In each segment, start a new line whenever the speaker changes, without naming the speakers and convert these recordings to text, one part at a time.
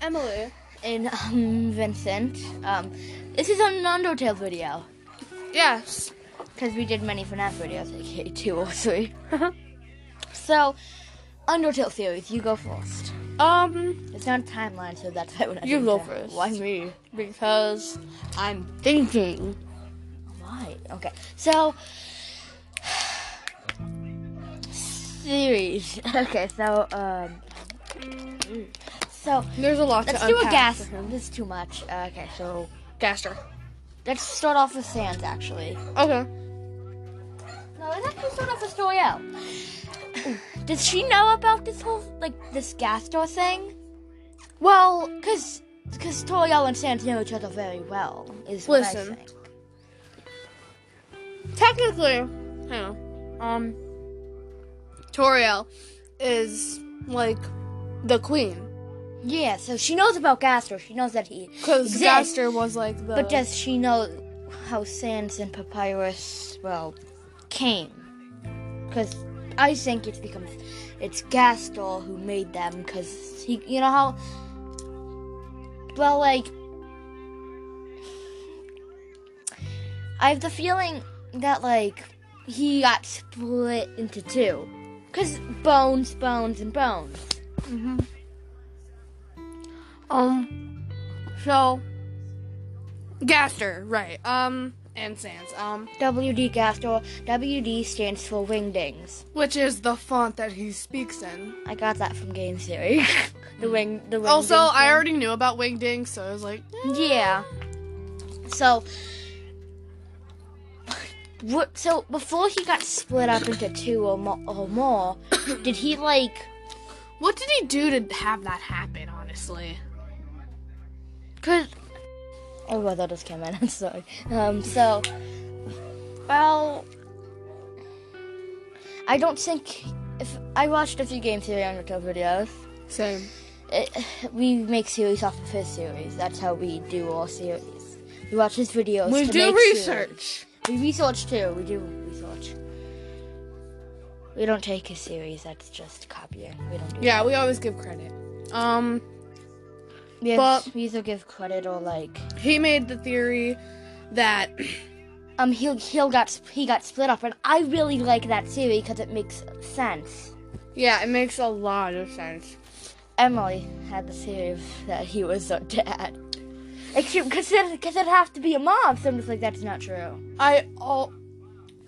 Emily.
And um, Vincent. Um, this is an Undertale video.
Yes.
Because we did many FNAF videos, aka two or three. so, Undertale series, you go first.
Um,
It's not a timeline, so that's why we're not
You
doing
go
time.
first.
Why me?
because I'm thinking.
Why? Okay. So, series. Okay, so, um, so,
There's a lot
let's
to
do a
unpack
gas.
for him.
This is too much. Okay, so,
Gaster.
let's start off with Sans, actually.
Okay.
No, let's actually start off with L'Oreal. Does she know about this whole like this gas door thing? Well, cause cause L'Oreal and Sans know each other very well. Is what I
Listen.
think.
Technically, hang on. Um, Toriel is like the queen
Yeah, so she knows about Gaster. She knows that he
because
exists,
Gaster was like the.
But does she know how Sans and Papyrus well came? Because I think it's because it's Gastor who made them. Because he, you know how. Well, like I have the feeling that like he got split into two, because bones, bones, and bones.
Um. So. Gaster, right? Um, and Sans. Um,
WD Gastor. WD stands for Wingdings.
which is the font that he speaks in.
I got that from game theory. the wing, the wing.
Also,
ding
I already knew about Wingding, so I was like, eh.
thing. yeah. So, what? So before he got split up into two or, mo- or more, did he like?
what did he do to have that happen? Honestly,
Cause oh well, that just came in. I'm sorry. Um, so well, I don't think if I watched a few game theory on YouTube videos.
same.
it, Uh, we make series off of his series. That's how we do our series. We watch his videos.
We
to
do
make
research.
series. We research too. We do research. We don't take his series. That's just copying. We don't do.
Yeah, we always give credit. Um,
That. We,
but-
we either give credit or like
he made the theory that
um he he got sp- he got split up, and I really like that series because it makes sense.
yeah, it makes a lot of sense.
Emily had the theory that he was a dad. Except because it, cause it'd have to be a mom. So I'm just like, that's not true.
I all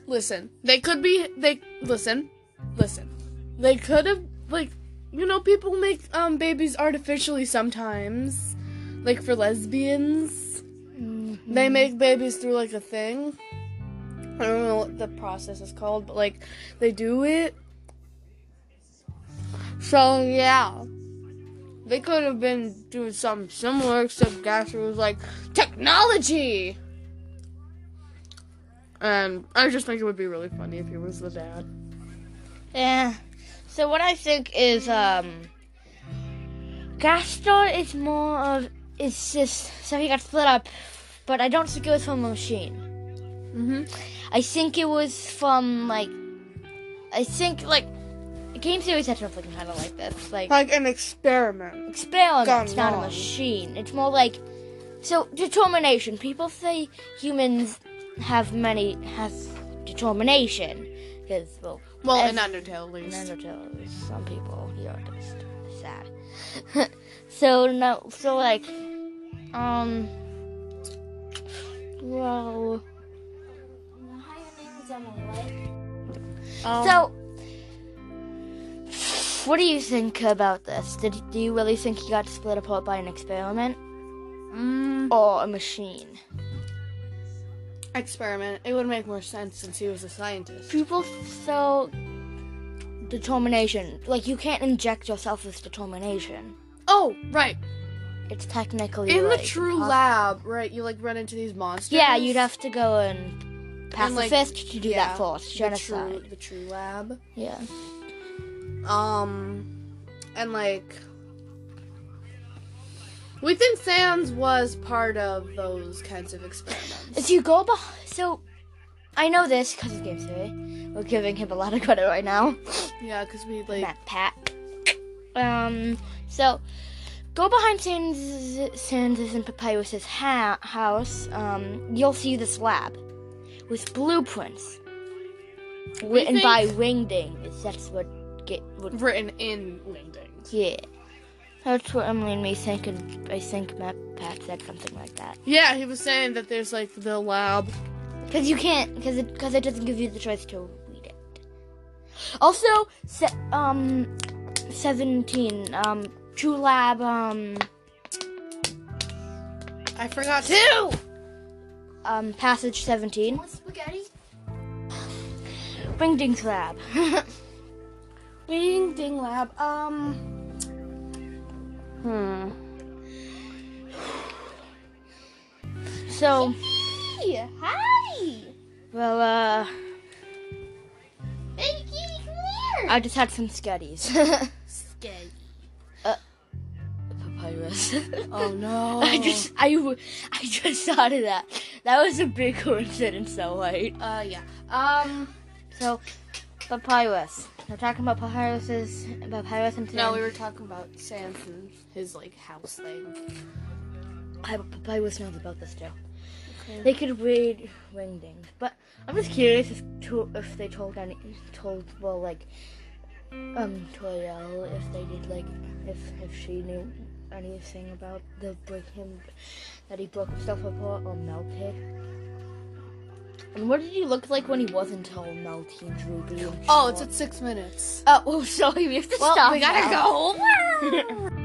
listen. They could be they listen, listen. They could have like you know people make um babies artificially sometimes, like for lesbians. They make babies through like a thing. I don't know what the process is called, but like they do it. So yeah. They could have been doing something similar, except Gasser was like, technology! And Um, I just think it would be really funny if he was the dad.
Yeah. Eh, So what I think is um Gaston is more of it's just so he got split up, but I don't think it was from a machine.
Mm-hmm.
I think it was from like I think like game series had something kind of like this, like
Like an experiment.
experiment,
gone
it's not a
wrong.
machine. It's more like so determination. People say humans have many has determination because well
Well,
Ev-
in Undertale, at least.
Neanderthals, some people here are just sad. so no, so like, um, well,
Um,
so. What do you think about this? Did do you really think he got split apart by an experiment
mm,
or a machine?
experiment. It would make more sense since he was a scientist.
People so determination. Like you can't inject yourself with determination.
Oh, right.
It's technically
In the
like,
true
impossible.
lab, right? You like run into these monsters.
Yeah, you'd have to go and pass
And,
the
like,
fist to do
yeah,
that first.
the
Genocide.
true, the true lab.
Yeah.
Um, and like. We think Sans was part of those kinds of experiments.
If you go behind, so I know this because of Game Theory. We're giving him a lot of credit right now.
Yeah, because we like.
Matt Pat. Um. So go behind Sans- Sansa's and Papyrus's ha- house. Um, you'll see this lab with blueprints written
think-
by Wingding. Is that's what get what?
Written in Wingdings.
Yeah, that's what Emily and me think, and I think Matt Pat said something like that.
Yeah, he was saying that there's like the lab.
Because you can't, because it, cause it doesn't give you the choice to read it. Also, se- um, 17, um, True Lab, um,
I forgot too.
um, Passage 17.
spaghetti?
Wing Ding's Lab. Wing Ding Lab, um, hmm. So,
Yeah, hi!
well, uh,
Baby kitty, come here!
I just had some scuddies.
Spaghetti.
Papyrus.
Oh no.
I just, I, w- I just thought of that. That was a big coincidence, though, right?
Uh, yeah. Um,
So, papyrus. We're talking about papyrus's papyrus and
No, we were talking about Sans and his like house thing.
I, papyrus knows about this too. They could read wingdings, but I'm just curious if to, if they told any told well like um Toyel if they did like if if she knew anything about the break him that he broke himself apart or melted. And what did he look like when he wasn't all melty and droopy? and
Oh, it's
short?
at six minutes.
Oh, oh, sorry, we have to
Well,
stop.
we gotta
now.
go.